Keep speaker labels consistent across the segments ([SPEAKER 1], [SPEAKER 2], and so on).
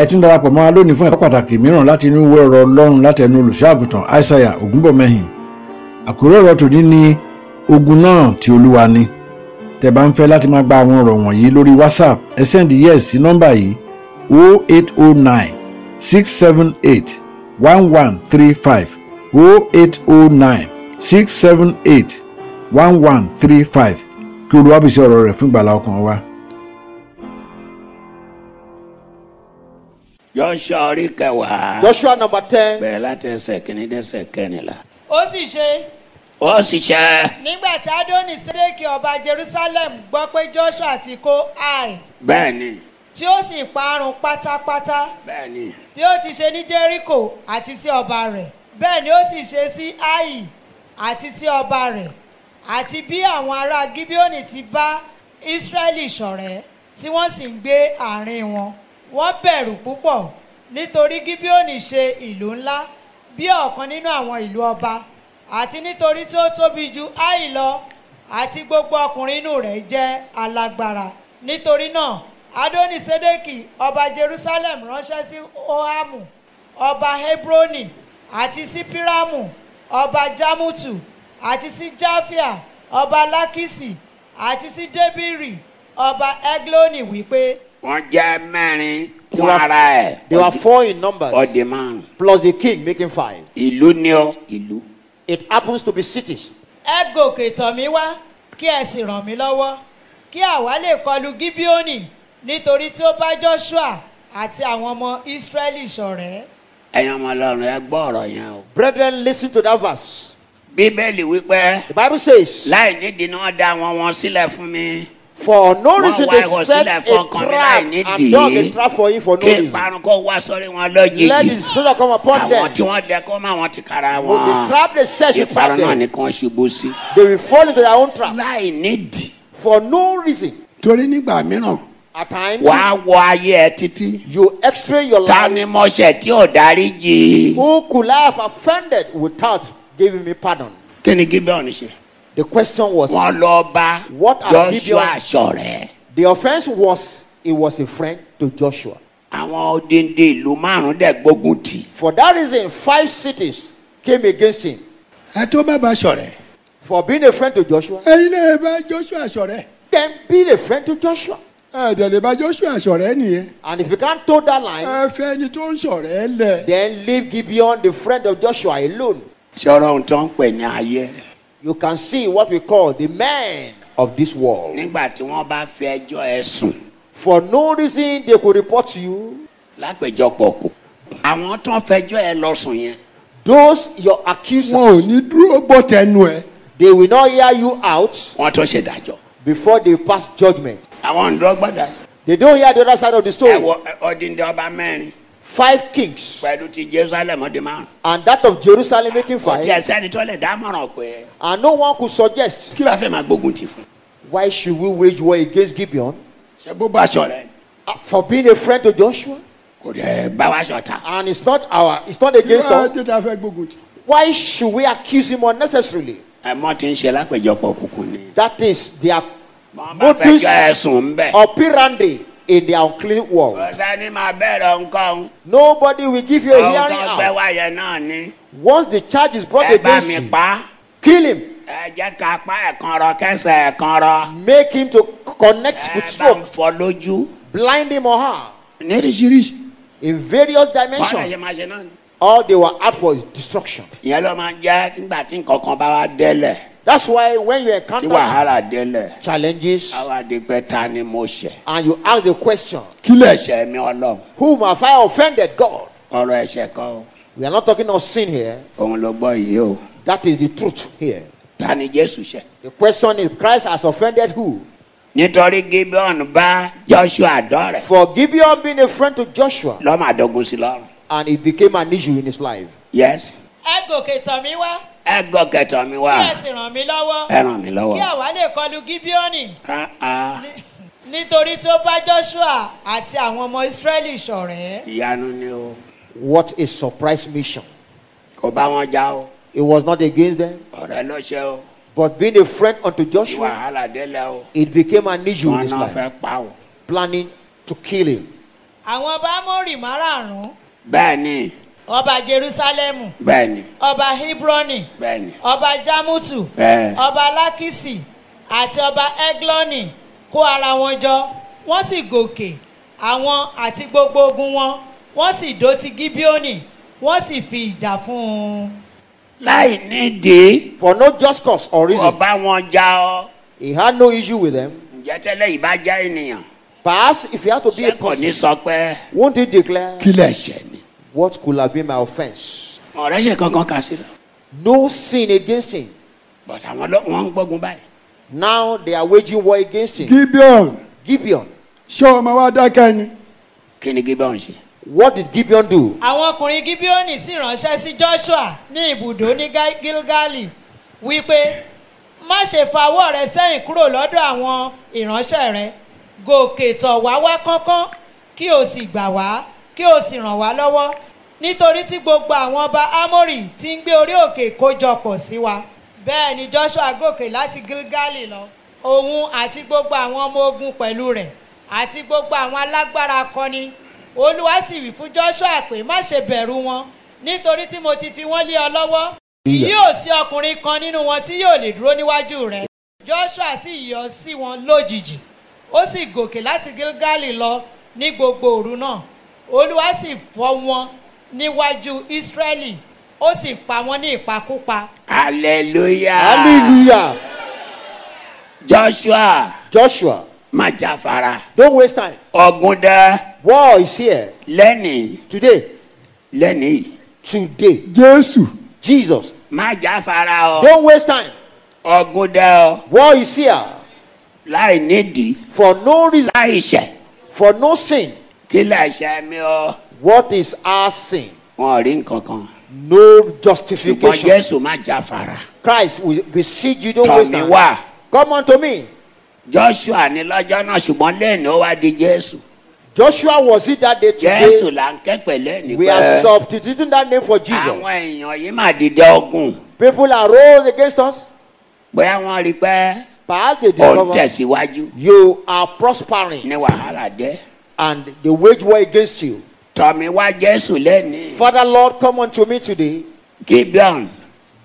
[SPEAKER 1] ẹ tún darapọ̀ mọ́ wa lónìí fún ẹ̀kọ́ pàtàkì mìíràn láti inú ìwé ọ̀rọ̀ ọlọ́run láti ẹnu olùṣọ́àgùtàn aishaiya ògúnbọ̀mẹ́hìn àkórí ọ̀rọ̀ tòní ni ogun náà tí olúwa ni tẹ́ bá ń fẹ́ láti máa gba àwọn ọ̀rọ̀ wọ̀nyí lórí whatsapp ẹ send yes sí nọ́mbà yìí 0809 678 1135 0809 678 1135 kí olúwa bìí sí ọ̀rọ̀ rẹ̀ fún ìgbàlá ọkàn wa.
[SPEAKER 2] Joshua orí kẹwàá.
[SPEAKER 3] Joshua number 10.
[SPEAKER 2] bẹ̀rẹ̀ láti ẹsẹ̀ kìíní dẹ́sẹ̀ kẹrìnlá.
[SPEAKER 4] ó sì ṣe
[SPEAKER 2] ó sì ṣe
[SPEAKER 4] nígbà tí adoni sireki ọba jerusalem gbọ́ pé joshua ti kó ai
[SPEAKER 2] bẹ́ẹ̀ ni
[SPEAKER 4] tí ó sì parun pátápátá
[SPEAKER 2] bẹ́ẹ̀ ni
[SPEAKER 4] bí ó ti ṣe ní jericho àti sí ọba rẹ̀ bẹ́ẹ̀ ni ó sì ṣe sí ai àti sí ọba rẹ̀ àti bí àwọn ará gibeoni ti bá israẹli ṣọ̀rẹ́ tí wọ́n sì ń gbé àárín wọn wọ́n bẹ̀rù púpọ̀ nítorí gibeoni ṣe ìlú ńlá bí ọ̀kan nínú àwọn ìlú ọba àti nítorí tí ó tóbi ju ai lọ àti gbogbo ọkùnrin inú rẹ̀ jẹ́ alágbára nítorí náà adoni sedeki ọba jerusalem ránṣẹ́ sí ohamu ọba hebroni àti sí piramu ọba jamutu àti sí jafia ọba lakisi àti sí debiri ọba egloni wípé
[SPEAKER 2] wọ́n jẹ́ mẹ́rin
[SPEAKER 3] They
[SPEAKER 2] kún
[SPEAKER 3] were,
[SPEAKER 2] ara ẹ̀
[SPEAKER 3] they were four in numbers.
[SPEAKER 2] ọ̀dì márùn
[SPEAKER 3] Plus the king making five.
[SPEAKER 2] ìlú ni ọ ìlú.
[SPEAKER 3] It happens to be cities.
[SPEAKER 4] ẹ gòkè tọ̀ mí wá kí ẹ sì ràn mí lọ́wọ́ kí àwa lè kọlu gibeoni nítorí tí ó bá joshua àti àwọn ọmọ israẹli ṣọ̀rẹ́
[SPEAKER 2] ẹ̀yin ọmọ ọlọ́run ẹ gbọ́ ọ̀rọ̀ yẹn o.
[SPEAKER 3] Brethren, listen to that verse.
[SPEAKER 2] bíbélì wípé
[SPEAKER 3] The Bible says,
[SPEAKER 2] láì nídìí ni wọ́n dá wọn wọn sílẹ̀ fún mi
[SPEAKER 3] For no
[SPEAKER 2] Why-
[SPEAKER 3] reason
[SPEAKER 2] why
[SPEAKER 3] they
[SPEAKER 2] was
[SPEAKER 3] set
[SPEAKER 2] he like
[SPEAKER 3] a
[SPEAKER 2] for coming
[SPEAKER 3] trap
[SPEAKER 2] like
[SPEAKER 3] and
[SPEAKER 2] this?
[SPEAKER 3] dug a trap for him for no
[SPEAKER 2] kí
[SPEAKER 3] reason.
[SPEAKER 2] ìparun kó wá sórí wọn
[SPEAKER 3] Let
[SPEAKER 2] lójijì
[SPEAKER 3] the soldier come upon
[SPEAKER 2] àwọn
[SPEAKER 3] them.
[SPEAKER 2] tí wọ́n dẹ kó má wọn ti kára
[SPEAKER 3] With
[SPEAKER 2] wọn
[SPEAKER 3] the trap they set, you trap
[SPEAKER 2] ìparun náà
[SPEAKER 3] them.
[SPEAKER 2] ni kàn ṣubú sí.
[SPEAKER 3] They will fall into their own trap
[SPEAKER 2] láì nídìí
[SPEAKER 3] for no reason.
[SPEAKER 5] torí nígbà mìíràn
[SPEAKER 3] At times,
[SPEAKER 2] wàá wọ ayé ẹ títí.
[SPEAKER 3] you extray your
[SPEAKER 2] ta
[SPEAKER 3] life.
[SPEAKER 2] ni mo ṣẹ̀ tí ò dárí jì í.
[SPEAKER 3] Who could I have offended without giving me pardon?
[SPEAKER 2] kí ni gibeon ṣe.
[SPEAKER 3] The question was,
[SPEAKER 2] wọ́n lọ bá
[SPEAKER 3] What are
[SPEAKER 2] joshua
[SPEAKER 3] Gibeon-
[SPEAKER 2] ṣọ̀rẹ́.
[SPEAKER 3] the offense was, he was a friend to Joshua.
[SPEAKER 2] àwọn odindi ìlú márùn dẹ̀ gbógun tì. í.
[SPEAKER 3] For that reason, five cities came against him
[SPEAKER 5] ẹ tó bàbá ṣọ̀rẹ́
[SPEAKER 3] for being a friend to Joshua.
[SPEAKER 5] ẹ̀yin náà ẹ bá joshua ṣọ̀rẹ́
[SPEAKER 3] Then being a friend to Joshua.
[SPEAKER 5] ẹ dẹ̀ lè bá joshua ṣọ̀rẹ́ nìyẹn
[SPEAKER 3] And if you can't toe that line,
[SPEAKER 5] ẹ fẹ́ ẹni tó ń ṣọ̀rẹ́ lẹ̀.
[SPEAKER 3] then leave Gibeon, the friend of Joshua, alone.
[SPEAKER 2] sọ̀rọ̀ ohun tó ń pè ní ayé.
[SPEAKER 3] You can see what we call the man of this world.
[SPEAKER 2] nígbà tí wọ́n bá fi ẹjọ́ ẹ sùn
[SPEAKER 3] For no reason, they could report to you.
[SPEAKER 2] lápèjọpọ̀ kù. àwọn tó ń fẹjọ́ ẹ lọ sùn yẹn.
[SPEAKER 3] Those your
[SPEAKER 5] wọn ò
[SPEAKER 3] accusers,
[SPEAKER 5] ní dúró gbọ́ tẹnu ẹ.
[SPEAKER 3] they will not hear you out
[SPEAKER 2] wọ́n tó ṣèdájọ́.
[SPEAKER 3] before they pass judgment.
[SPEAKER 2] àwọn ǹdọ́ gbọ́dọ̀.
[SPEAKER 3] They don't hear the other side of the
[SPEAKER 2] ẹ
[SPEAKER 3] story.
[SPEAKER 2] wọ ẹ- odindi ọba mẹ́rin
[SPEAKER 3] Five kings
[SPEAKER 2] pẹ̀lú ti jerusalem ọdún márùn.
[SPEAKER 3] and that of Jerusalem making
[SPEAKER 2] kò tí ẹ
[SPEAKER 3] five,
[SPEAKER 2] sẹ́ni tó lè dámọ̀ràn pé
[SPEAKER 3] and no one could suggest
[SPEAKER 2] kí la fẹ́ máa gbógun tì fún.
[SPEAKER 3] Why should we wage war against Gibeon?
[SPEAKER 2] ṣe bó bá ṣọ̀rẹ́ ni.
[SPEAKER 3] Uh, For being a friend to Joshua?
[SPEAKER 2] kò dẹ̀ bá wa ṣọ̀tá.
[SPEAKER 3] And it's not our, it's not against
[SPEAKER 5] ìwà
[SPEAKER 3] us.
[SPEAKER 5] títa fẹ́ gbógun tì.
[SPEAKER 3] Why should we accuse him unnecessarily?
[SPEAKER 2] ẹmọ ti ń ṣe lápẹjọpọ kúkú ni.
[SPEAKER 3] That is their
[SPEAKER 2] wọn bá fẹjọ
[SPEAKER 3] modus
[SPEAKER 2] ẹsùn ń bẹ.
[SPEAKER 3] operandi in their unclean world.
[SPEAKER 2] ọ̀sẹ̀ ni màá bẹ̀rẹ̀ nǹkan
[SPEAKER 3] Nobody will give you a
[SPEAKER 2] ohun
[SPEAKER 3] hearing
[SPEAKER 2] tó gbẹ
[SPEAKER 3] out.
[SPEAKER 2] wáyé náà ni.
[SPEAKER 3] Once the charge is brought
[SPEAKER 2] ẹ Eh, bá
[SPEAKER 3] against
[SPEAKER 2] mi
[SPEAKER 3] you,
[SPEAKER 2] pa
[SPEAKER 3] kill him.
[SPEAKER 2] ẹ jẹ́ ká pa ẹ̀kan rọ kẹsẹ̀ ẹ̀kan rọ.
[SPEAKER 3] Make him to c- connect
[SPEAKER 2] ẹ
[SPEAKER 3] with
[SPEAKER 2] Eh, bá ń
[SPEAKER 3] stroke,
[SPEAKER 2] fọ lójú.
[SPEAKER 3] blind him or harm
[SPEAKER 2] níríṣiríṣi.
[SPEAKER 3] in various
[SPEAKER 2] wọn lè ṣe
[SPEAKER 3] dimensions.
[SPEAKER 2] máa ṣe náà ni.
[SPEAKER 3] All they were out for is destruction.
[SPEAKER 2] ìyẹn ló máa ń jẹ́ nígbà tí nǹkan kan bá wa délẹ̀
[SPEAKER 3] That's why when you
[SPEAKER 2] tí
[SPEAKER 3] encounter
[SPEAKER 2] wàhálà délẹ̀
[SPEAKER 3] challenges
[SPEAKER 2] àwa di pé ta ni mo ṣẹ̀.
[SPEAKER 3] and you ask the question,
[SPEAKER 2] kí lè ṣe mi ọlọ́run.
[SPEAKER 3] Whom have I offended God?
[SPEAKER 2] ọ̀rọ̀ ẹ̀ṣẹ̀ kan
[SPEAKER 3] We are not talking of sin here.
[SPEAKER 2] òun ló gbọ́ yìí o.
[SPEAKER 3] That is the truth here.
[SPEAKER 2] ta ni jésù ṣẹ̀.
[SPEAKER 3] The question is Christ has offended who?
[SPEAKER 2] nítorí gibeon bá joshua dọ́rẹ̀
[SPEAKER 3] For Gibeon being a friend to Joshua,
[SPEAKER 2] lọ́mọ àdógún sí lọ́rùn.
[SPEAKER 3] and it became an issue in his life.
[SPEAKER 2] yes
[SPEAKER 4] ẹ gòkè tọ̀ mí wá
[SPEAKER 2] ẹ gọ kẹtọ mi
[SPEAKER 4] kí ẹ
[SPEAKER 2] wá
[SPEAKER 4] sì ràn mí lọ́wọ́
[SPEAKER 2] ẹ ràn mí
[SPEAKER 4] kí
[SPEAKER 2] lọ́wọ́.
[SPEAKER 4] àwa lè kọlu gibeoni
[SPEAKER 2] Ah, ah.
[SPEAKER 4] nítorí tí ó bá joshua àti àwọn ọmọ israẹli ṣọ̀rẹ́
[SPEAKER 2] ìyanu ni o
[SPEAKER 3] What a surprise mission.
[SPEAKER 2] kò bá wọn já o
[SPEAKER 3] It was not against them,
[SPEAKER 2] ọ̀rẹ́ ló ṣe o
[SPEAKER 3] but being a friend unto
[SPEAKER 2] kí
[SPEAKER 3] Joshua,
[SPEAKER 2] wàhálà délẹ̀ o
[SPEAKER 3] it became an issue in
[SPEAKER 2] wọn
[SPEAKER 3] his
[SPEAKER 2] náà
[SPEAKER 3] life.
[SPEAKER 2] fẹ́ pa o
[SPEAKER 3] Planning to kill him.
[SPEAKER 4] àwọn ọba amórì márààrún
[SPEAKER 2] bẹ́ẹ̀ ni
[SPEAKER 4] ọba jerúsálẹ́mù
[SPEAKER 2] bẹ́ẹ̀ ni
[SPEAKER 4] ọba hebroni
[SPEAKER 2] bẹ́ẹ̀ ni
[SPEAKER 4] ọba jámùtù
[SPEAKER 2] bẹ́ẹ̀
[SPEAKER 4] ọba lákìsì àti ọba egloni kó ara wọn jọ wọ́n sì gòkè àwọn àti gbogbo ogun wọn wọ́n sì dó ti gíbíónì wọ́n sì fi ìjà fún un.
[SPEAKER 2] láì nídìí
[SPEAKER 3] for no just cause or reason.
[SPEAKER 2] ọba wọn já ọ
[SPEAKER 3] He had no issue with them.
[SPEAKER 2] ǹjẹ́ tẹ́lẹ̀ yìí bá já ènìyàn
[SPEAKER 3] Perhaps if he had to be a
[SPEAKER 2] ṣé kò ní
[SPEAKER 3] person,
[SPEAKER 2] sọ pé
[SPEAKER 3] won't he declare
[SPEAKER 5] kí lẹ̀ ṣẹ̀ ni.
[SPEAKER 3] what could have been my offense?
[SPEAKER 2] ọ̀rẹ́ ṣe kankan kà sí lọ
[SPEAKER 3] No sin against him.
[SPEAKER 2] but àwọn ló wọ́n ń gbógun báyìí
[SPEAKER 3] Now they are waging war against him.
[SPEAKER 5] gibeon
[SPEAKER 3] Gibeon.
[SPEAKER 5] ṣé ọmọ wa dákẹ́ ni.
[SPEAKER 2] kí ni gíbọn ṣe
[SPEAKER 3] What did Gibeon do?
[SPEAKER 4] àwọn ọkùnrin gíbíọ́nì sì ránṣẹ́ sí joshua ní ibùdó ní Ga- gilgali wípé má ṣe fawọ́ rẹ sẹ́yìn kúrò lọ́dọ̀ àwọn ìránṣẹ́ rẹ gòkè sọ̀ wá wá kánkán kí o sì gbà wá kí o sì ràn wá lọ́wọ́ nítorí tí gbogbo àwọn ọba amórì ti ń gbé orí òkè kójọpọ̀ sí wa bẹ́ẹ̀ ni joshua gòkè láti gilgali lọ òun àti gbogbo àwọn ọmọ ogun pẹ̀lú rẹ̀ àti gbogbo àwọn alágbára akọni olúwa sì wí fún joshua pé má ṣe bẹ̀rù wọn nítorí tí mo ti fi wọ́n lé ọ lọ́wọ́ yóò sí ọkùnrin kan nínú wọn tí yóò lè dúró níwájú rẹ joshua sì yọ sí wọn lójijì ó sì gòkè láti gilgali lọ ní gbogbo òru náà olúwa sì fọ́ wọn níwájú israẹli ó sì pa wọn ní ìpakúpa
[SPEAKER 2] hallelujah
[SPEAKER 3] Hallelujah.
[SPEAKER 2] joshua
[SPEAKER 3] Joshua,
[SPEAKER 2] má jáfara
[SPEAKER 3] don't waste time.
[SPEAKER 2] ọ̀gùn dẹ
[SPEAKER 3] War is here
[SPEAKER 2] lẹ́nìí
[SPEAKER 3] today.
[SPEAKER 2] lẹ́nìí
[SPEAKER 3] Today.
[SPEAKER 5] jésù
[SPEAKER 3] Jesus.
[SPEAKER 2] má jáfara ọ
[SPEAKER 3] Don't waste time.
[SPEAKER 2] ọ̀gùn dẹ ọ
[SPEAKER 3] War is here
[SPEAKER 2] láì nídìí
[SPEAKER 3] for no reason,
[SPEAKER 2] láì ṣẹ̀
[SPEAKER 3] for no sin.
[SPEAKER 2] kí lè ṣe mi ọ
[SPEAKER 3] What is our sin?
[SPEAKER 2] wọn ò rí nǹkan kan
[SPEAKER 3] No
[SPEAKER 2] ṣùgbọ́n
[SPEAKER 3] justification.
[SPEAKER 2] jésù má jáfara
[SPEAKER 3] Christ, we beseech you, don't waste
[SPEAKER 2] tọ̀mí
[SPEAKER 3] time.
[SPEAKER 2] wá.
[SPEAKER 3] Come unto me.
[SPEAKER 2] joshua ní lọ́jọ́ náà ṣùgbọ́n lẹ́nu ó wá di jésù
[SPEAKER 3] Joshua was it that day today.
[SPEAKER 2] jésù là ń kẹ́pẹ́ lẹ́nu
[SPEAKER 3] We are substituting that name for Jesus.
[SPEAKER 2] àwọn èèyàn yìí má dìde ọgùn
[SPEAKER 3] People are rose against us.
[SPEAKER 2] bóyá wọ́n rí i pé
[SPEAKER 3] Perhaps they
[SPEAKER 2] ó ń
[SPEAKER 3] discover
[SPEAKER 2] tẹ̀síwájú
[SPEAKER 3] you are prospering
[SPEAKER 2] ní wàhálà dé
[SPEAKER 3] and they wage war against you.
[SPEAKER 2] tọ̀mí wá jésù lẹ́nu
[SPEAKER 3] Father, Lord, come unto me today.
[SPEAKER 2] gibeon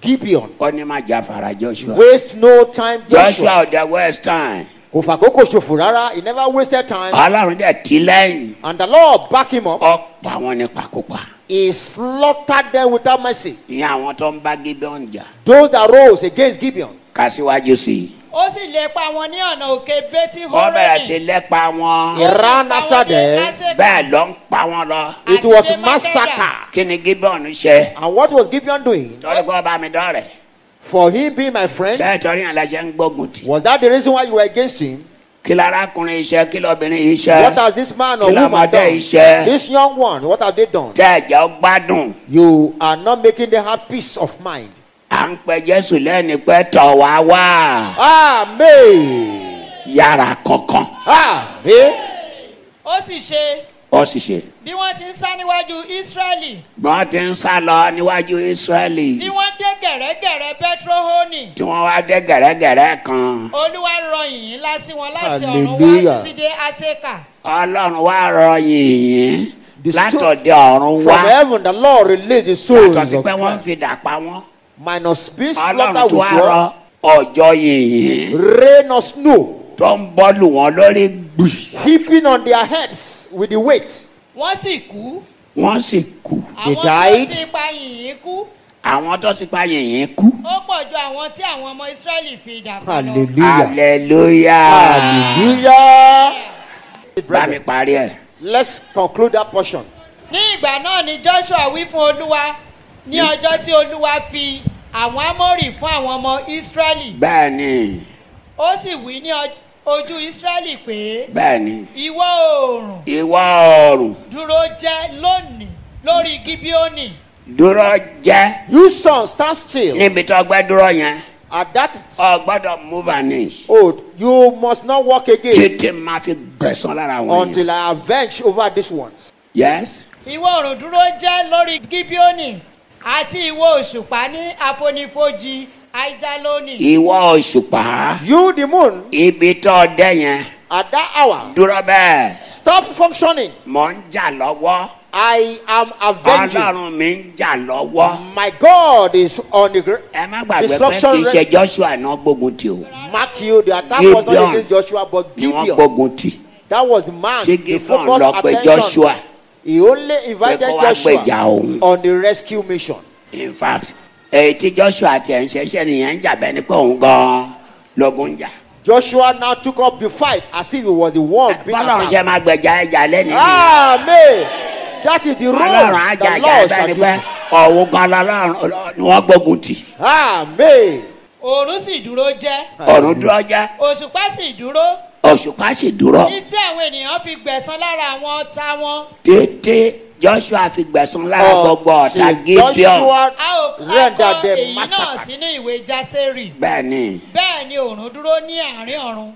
[SPEAKER 3] Gibeon,
[SPEAKER 2] ó ní má jáfara joshua
[SPEAKER 3] waste no time,
[SPEAKER 2] joshua
[SPEAKER 3] Joshua.
[SPEAKER 2] of the west time
[SPEAKER 3] Kò fàkókò ṣòfò rárá, he never wasted time.
[SPEAKER 2] ọlọ́run dẹ̀ ti lẹ́yìn
[SPEAKER 3] And the Lord back him up.
[SPEAKER 2] ọ̀pọ̀ àwọn ní pakópa
[SPEAKER 3] He slaughtered them without mercy.
[SPEAKER 2] ìyẹn àwọn tó ń bá gibeon jà
[SPEAKER 3] Those that rose against Gibeon,
[SPEAKER 2] kásíwájú sí i
[SPEAKER 4] ó sì lépa wọn ní ọ̀nà òkè betty
[SPEAKER 2] wọ́n bẹ̀rẹ̀ sí
[SPEAKER 4] horoni
[SPEAKER 2] lẹ́pa wọn.
[SPEAKER 3] He ran after them.
[SPEAKER 2] bẹ́ẹ̀ ló ń pa wọn lọ.
[SPEAKER 3] it
[SPEAKER 4] Àti
[SPEAKER 3] was
[SPEAKER 4] dé Mákẹ́dà.
[SPEAKER 3] massacre.
[SPEAKER 2] kí ni gibbon ṣe.
[SPEAKER 3] And what was Gibeon doing?
[SPEAKER 2] torí kó bá mi dọ́rẹ̀.
[SPEAKER 3] For him being my friend,
[SPEAKER 2] bẹ́ẹ̀ torí yẹn la ṣe ń gbógun tì.
[SPEAKER 3] was that the reason why you were against him?
[SPEAKER 2] kí larákùnrin iṣẹ́ kí lóbìnrin iṣẹ́.
[SPEAKER 3] What has this man or
[SPEAKER 2] Kí la máa
[SPEAKER 3] woman
[SPEAKER 2] dá
[SPEAKER 3] done?
[SPEAKER 2] iṣẹ́?
[SPEAKER 3] This young one, what have they done?
[SPEAKER 2] tẹ́ ẹ̀jẹ̀ ó gbádùn.
[SPEAKER 3] You are not making them have peace of mind.
[SPEAKER 2] à ń pẹ jésù lẹ́ni pé tọ̀ wá wá.
[SPEAKER 3] Amen.
[SPEAKER 2] yàrá kankan.
[SPEAKER 3] Amen.
[SPEAKER 4] ó sì ṣe
[SPEAKER 2] ó sì ṣe.
[SPEAKER 4] bí wọ́n ti ń sá níwájú israẹli
[SPEAKER 2] wọ́n ti ń sá lọ níwájú
[SPEAKER 4] tí
[SPEAKER 2] ísírẹ́lì.
[SPEAKER 4] wọ́n dé gẹ̀rẹ́gẹ̀rẹ́ bẹ́tróhónì
[SPEAKER 2] tí wọ́n wá dé gẹ̀rẹ́gẹ̀rẹ́ kan.
[SPEAKER 4] olúwa rọ yìnyín ńlá sí wọn láti ọ̀run wá
[SPEAKER 3] Hallelujah.
[SPEAKER 4] títí dé aseka
[SPEAKER 2] ọlọ́run wá rọ yìnyín.
[SPEAKER 3] The sto-
[SPEAKER 2] látọ̀dé ọ̀run
[SPEAKER 3] From
[SPEAKER 2] wá.
[SPEAKER 3] heaven, the Lord released the souls
[SPEAKER 2] tọ́sí
[SPEAKER 3] of
[SPEAKER 2] pé wọ́n ń
[SPEAKER 3] men.
[SPEAKER 2] fi dàpá wọn.
[SPEAKER 3] Minus peace,
[SPEAKER 2] ọlọ́run
[SPEAKER 3] slaughter
[SPEAKER 2] tó
[SPEAKER 3] with
[SPEAKER 2] wá rọ
[SPEAKER 3] sword,
[SPEAKER 2] ọjọ́ yìnyín
[SPEAKER 3] rain or snow,
[SPEAKER 2] tó ń bọ́lù wọn lórí gbì
[SPEAKER 3] heaping on their heads with the weight.
[SPEAKER 4] wọ́n sì kú
[SPEAKER 2] wọ́n sì kú
[SPEAKER 4] àwọn tí ó
[SPEAKER 3] died.
[SPEAKER 4] ti pa yìnyín kú
[SPEAKER 2] àwọn tó sì pa yìnyín kú.
[SPEAKER 4] ó pọ̀ ju àwọn tí àwọn ọmọ israẹli fi dàgbà lọ
[SPEAKER 3] Hallelujah.
[SPEAKER 2] hallelujah
[SPEAKER 3] Hallelujah.
[SPEAKER 2] bá mi parí ẹ̀.
[SPEAKER 3] Let's conclude that portion.
[SPEAKER 4] ní ìgbà náà ni joshua wí fún olúwa ní ọjọ́ tí olúwa fi àwọn amórì fún àwọn ọmọ israẹli
[SPEAKER 2] bẹ́ẹ̀ ni
[SPEAKER 4] ó sì wí ní ọ- ojú israẹli pé
[SPEAKER 2] bẹ́ẹ̀ ni
[SPEAKER 4] ìwọ oòrùn
[SPEAKER 2] ìwọ oòrùn
[SPEAKER 4] dúró jẹ lónìí lórí gibioni
[SPEAKER 2] dúró jẹ́
[SPEAKER 3] You son, stand still.
[SPEAKER 2] níbi tó gbẹ́ dúró yẹn
[SPEAKER 3] At that
[SPEAKER 2] ọ gbọ́dọ̀ move an inch
[SPEAKER 3] oath, you must not walk again
[SPEAKER 2] títí máa fi gbẹ̀sán lára wọn yẹn
[SPEAKER 3] until I avenge over these ones.
[SPEAKER 2] yes
[SPEAKER 4] ìwọ oòrùn dúró jẹ́ lórí gibioni àti ìwọ òṣùpá ní àfonífojì aijaloni.
[SPEAKER 2] ìwọ òṣùpá
[SPEAKER 3] You, the moon,
[SPEAKER 2] ibi tó dẹ́ yẹn
[SPEAKER 3] at that hour,
[SPEAKER 2] dúró bẹ́ẹ̀
[SPEAKER 3] stop functioning.
[SPEAKER 2] mò ń jà lọ́wọ́
[SPEAKER 3] I am avenging.
[SPEAKER 2] ọlọ́run mi ń jà lọ́wọ́.
[SPEAKER 3] My God is on the gr-
[SPEAKER 2] ẹ má gbàgbé pé kì í ṣe joshua náà gbógun tì o
[SPEAKER 3] Matthew, the attack was not
[SPEAKER 2] Gideon.
[SPEAKER 3] against Joshua, but
[SPEAKER 2] ni wọ́n
[SPEAKER 3] Gideon.
[SPEAKER 2] gbógun tì
[SPEAKER 3] That was the man.
[SPEAKER 2] Ṣé
[SPEAKER 3] The
[SPEAKER 2] Gideon
[SPEAKER 3] focus
[SPEAKER 2] lọ pe
[SPEAKER 3] attention.
[SPEAKER 2] Joshua?
[SPEAKER 3] He only invited
[SPEAKER 2] Pé kó wá
[SPEAKER 3] Joshua
[SPEAKER 2] gbèjà òun.
[SPEAKER 3] on the rescue mission.
[SPEAKER 2] in fact èyí tí joshua ti ẹ̀ ń ṣẹṣẹ́ nìyẹn ń jà bẹ́ẹ̀ ni pé òun gan-an lógun ń jà.
[SPEAKER 3] Joshua now took up the fight as if he was the one being
[SPEAKER 2] bọ́lọ́run ṣe
[SPEAKER 3] attacked.
[SPEAKER 2] máa gbẹ̀jà ẹja lẹ́nu
[SPEAKER 3] Ah!
[SPEAKER 2] ni
[SPEAKER 3] Amen. That is the role
[SPEAKER 2] ọlọ́run á
[SPEAKER 3] the
[SPEAKER 2] jàjà ẹ
[SPEAKER 3] Lord
[SPEAKER 2] bẹ́ẹ̀ ni
[SPEAKER 3] shall
[SPEAKER 2] pé
[SPEAKER 3] do.
[SPEAKER 2] ọ̀hún gan lọ́lọ́run ni wọ́n gbógun tì
[SPEAKER 3] Amen.
[SPEAKER 4] òòrùn sì dúró jẹ́
[SPEAKER 2] ọ̀run dúró jẹ́
[SPEAKER 4] òṣùpá sì dúró
[SPEAKER 2] òṣùpá sì dúró
[SPEAKER 4] títí àwọn ènìyàn fi gbẹ̀san lára àwọn ọ̀tá wọn
[SPEAKER 2] tètè joshua fi gbẹ̀sùn lára gbogbo ọ̀tá
[SPEAKER 3] Until
[SPEAKER 2] Oh, gideon
[SPEAKER 3] Oh, Joshua
[SPEAKER 4] a ò a kọ
[SPEAKER 3] rendered
[SPEAKER 4] èyí
[SPEAKER 3] them
[SPEAKER 4] náà
[SPEAKER 3] massacred.
[SPEAKER 4] sínú ìwé jásẹ́rì
[SPEAKER 2] bẹ́ẹ̀ ni
[SPEAKER 4] bẹ́ẹ̀ ni òòrùn dúró ní àárín ọ̀run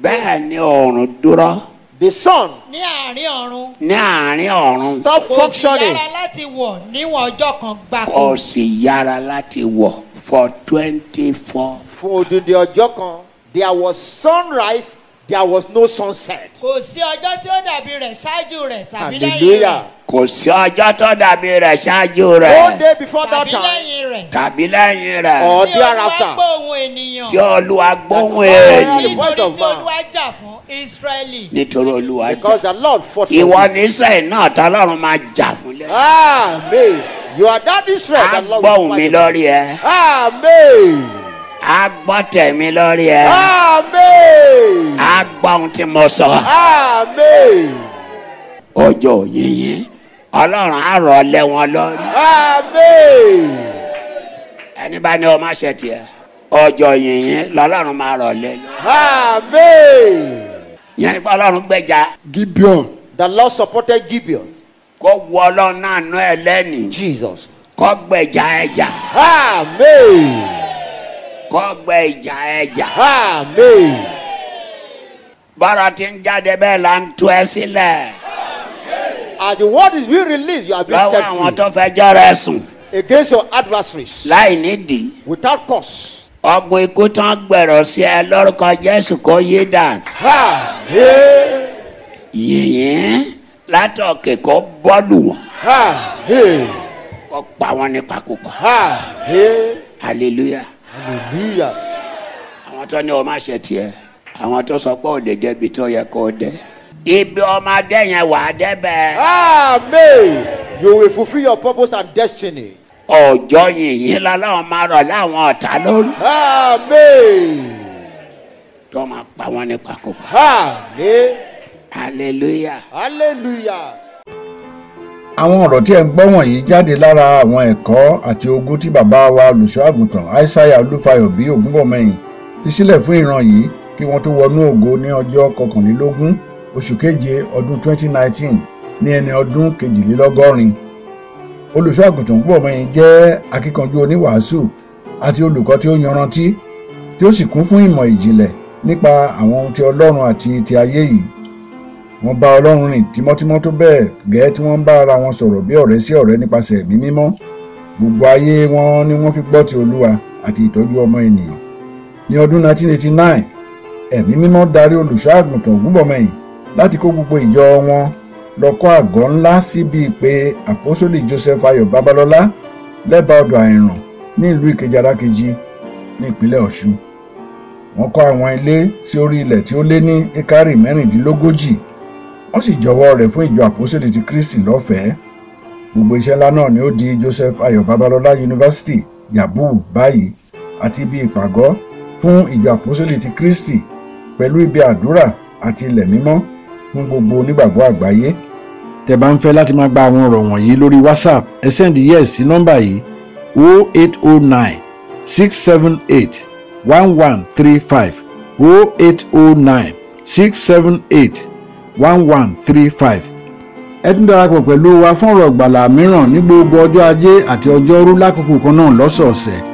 [SPEAKER 2] bẹ́ẹ̀ ni ọ̀run dúró
[SPEAKER 3] The sun
[SPEAKER 4] ní àárín ọ̀run
[SPEAKER 2] ní àárín ọ̀run
[SPEAKER 3] stopped
[SPEAKER 4] kò sì yára
[SPEAKER 3] functioning.
[SPEAKER 4] láti wọ̀ níwọ̀n ọjọ́ kan gbáko
[SPEAKER 2] kò sì yára láti wọ̀ for twenty four
[SPEAKER 3] For the ọjọ́ kan, there was sunrise, there was no sunset.
[SPEAKER 4] kò sí ọjọ́ tí ó dàbí rẹ̀ ṣáájú rẹ̀ tàbí lẹ́yìn rẹ̀
[SPEAKER 3] Hallelujah.
[SPEAKER 2] kò sí ọjọ́ tó dàbí rẹ̀ ṣáájú
[SPEAKER 3] One
[SPEAKER 2] rẹ̀
[SPEAKER 3] day before that
[SPEAKER 4] tàbí
[SPEAKER 3] time,
[SPEAKER 4] lẹ́yìn rẹ̀
[SPEAKER 2] tàbí lẹ́yìn rẹ̀
[SPEAKER 3] Or
[SPEAKER 4] tí
[SPEAKER 3] thereafter.
[SPEAKER 4] olúwa gbọ́ ohun ènìyàn
[SPEAKER 2] tí olúwa gbóhùn
[SPEAKER 3] The
[SPEAKER 2] èèyàn
[SPEAKER 3] voice
[SPEAKER 4] nítorí
[SPEAKER 3] of
[SPEAKER 4] tí
[SPEAKER 3] man.
[SPEAKER 4] olúwa jà fún israẹli
[SPEAKER 2] nítorí olúwa
[SPEAKER 3] because
[SPEAKER 2] jà
[SPEAKER 3] the Lord fought for
[SPEAKER 2] ìwọ
[SPEAKER 3] you.
[SPEAKER 2] ní israẹl náà tọ́lọ́run máa jà fún
[SPEAKER 3] Ah,
[SPEAKER 2] lẹ́yìn
[SPEAKER 3] Amen. You are that Israel
[SPEAKER 2] á
[SPEAKER 3] that Lord
[SPEAKER 2] gbọ́
[SPEAKER 3] will
[SPEAKER 2] ohùn mi
[SPEAKER 3] fight.
[SPEAKER 2] lórí ẹ
[SPEAKER 3] Amen.
[SPEAKER 2] á gbọ́ tẹ̀mí lórí ẹ.
[SPEAKER 3] Ah! Amen.
[SPEAKER 2] a gbọ́ ohun tí mo sọ.
[SPEAKER 3] Amen.
[SPEAKER 2] ọjọ́ yìnyín ọlọ́run á rọ̀ lé wọn lórí.
[SPEAKER 3] Amen.
[SPEAKER 2] ẹni bá ní o má ṣe tiẹ̀ ọjọ́ yìnyín lọ́lọ́run máa rọ̀ lé lórí.
[SPEAKER 3] Amen.
[SPEAKER 2] yẹn ni pé ọlọ́run gbẹ̀jà
[SPEAKER 5] gibeon
[SPEAKER 3] The Lord supported Gibeon.
[SPEAKER 2] kó wu ọlọ́run náà nú ẹ lẹ́nìí
[SPEAKER 3] Jesus.
[SPEAKER 2] kó gbẹ̀jà ẹja
[SPEAKER 3] Amen.
[SPEAKER 2] kó gbẹ̀jà ẹja.
[SPEAKER 3] Amen.
[SPEAKER 2] bọ́rọ̀ ti ń jáde bẹ́ẹ̀ la ń tú ẹ sílẹ̀
[SPEAKER 3] As the word is being released, you have been
[SPEAKER 2] lọ́wọ́
[SPEAKER 3] set
[SPEAKER 2] àwọn
[SPEAKER 3] free
[SPEAKER 2] tó fẹ́ jọ́rọ̀ ẹ sùn
[SPEAKER 3] against your adversaries
[SPEAKER 2] láì nídìí
[SPEAKER 3] without cause.
[SPEAKER 2] ọgbọ́n ikú tán gbẹ̀rọ sí ẹ lórúkọ jésù kó yé dànù.
[SPEAKER 3] Amen.
[SPEAKER 2] yìnyín látọ̀kẹ̀ kọ́ bọ́ọ̀lù wọn
[SPEAKER 3] Amen.
[SPEAKER 2] kọ́ pa wọn ní pakúpa
[SPEAKER 3] Amen.
[SPEAKER 2] hallelujah
[SPEAKER 3] Hallelujah.
[SPEAKER 2] àwọn tó ní o má ṣe tiẹ̀ àwọn tó sọ pé ò lè débi tó yẹ kó o dé ibi ọmọdé yẹn wà á débẹ̀
[SPEAKER 3] Amen. You will fulfill your purpose and destiny.
[SPEAKER 2] ọjọ́ yìnyín lọ́lọ́run máa rọ̀ láwọn ọ̀tá lórí
[SPEAKER 3] Amen.
[SPEAKER 2] tó máa pa wọn ní pakúpa
[SPEAKER 3] Amen.
[SPEAKER 2] hallelujah.
[SPEAKER 3] Hallelujah.
[SPEAKER 1] àwọn ọ̀rọ̀ tí ẹ̀ ń gbọ́ wọ̀nyí jáde lára àwọn ẹ̀kọ́ àti ogún tí bàbá wa olùṣọ́àgùntàn aishaiya olúfayọ bí ògúnbọ̀mọyìn fi sílẹ̀ fún ìran yìí kí wọ́n tó wọnú ògo ní ọjọ́ kọkànlélógún oṣù keje ọdún 2019 ní ẹni ọdún kejìlélọ́gọ́rin olùṣọ́àgùntàn ògúnbọ̀mọyìn jẹ́ akíkanjú oníwàásù àti olùkọ́ tí ó yanrantí tí ó sì kún fún ìmọ̀ ìjìnlẹ̀ nípa àwọn ohun ti ọlọ́run àti ti ayé yìí wọ́n bá ọlọ́run rìn tímọ́tímọ́ tó bẹ́ẹ̀ gẹ́ẹ́ tí wọ́n ń bá ara wọn sọ̀rọ̀ bí ọ̀rẹ́ sí ọ̀rẹ́ nípasẹ̀ ẹ̀mí mímọ́ gbogbo ayé wọn ni wọ́n fi gbọ́ ti olúwa àti ìtọ́jú ọmọ ènìyàn ní ọdún 1989 ẹ̀mí mímọ́ darí olùṣọ́ àgùntàn ògúnbọ̀mọyìn láti kó gbogbo ìjọ wọn lọ kọ́ àgọ́ ńlá síbi pé àpọ́sólì joseph ayọ̀ babalọ́lá lẹ́bàá ọ̀dọ̀ àìràn ní ìlú ìkejì arákejì ní ìpínlẹ̀ ọ̀ṣun wọ́n kọ́ àwọn ilé sí orí ilẹ̀ tí ó lé ní ekari mẹ́rìndínlógójì wọ́n sì jọwọ́ rẹ̀ fún ìjọ àpòsílẹ̀ ti kristi lọ́fẹ̀ẹ́ gbogbo iṣẹ́ ńlá náà ni ó di joseph ayọ̀ babalọ́lá yunifásitì yabu báyìí àti ibi ìpàgọ́ fún ìjọ àpòsílẹ̀ ti kristi pẹ̀lú ibi àdúrà àti ilẹ̀ mímọ́ fún gbogbo onígbàgbọ́ àgbáyé. tẹ́ bá ń fẹ́ láti máa gba àwọn ọ̀rọ̀ wọ̀nyí lórí whatsapp ẹ sẹ́ndí yes sí nọ́mbà yìí 0809 678 1135 0809 678 1135. ẹ tún darapọ̀ pẹ̀lú wa fún ọ̀rọ̀ ìgbàlà mìíràn ní gbogbo ọjọ́ ajé àti ọjọ́rú lákòókò kan náà lọ́sọ̀ọ̀sẹ̀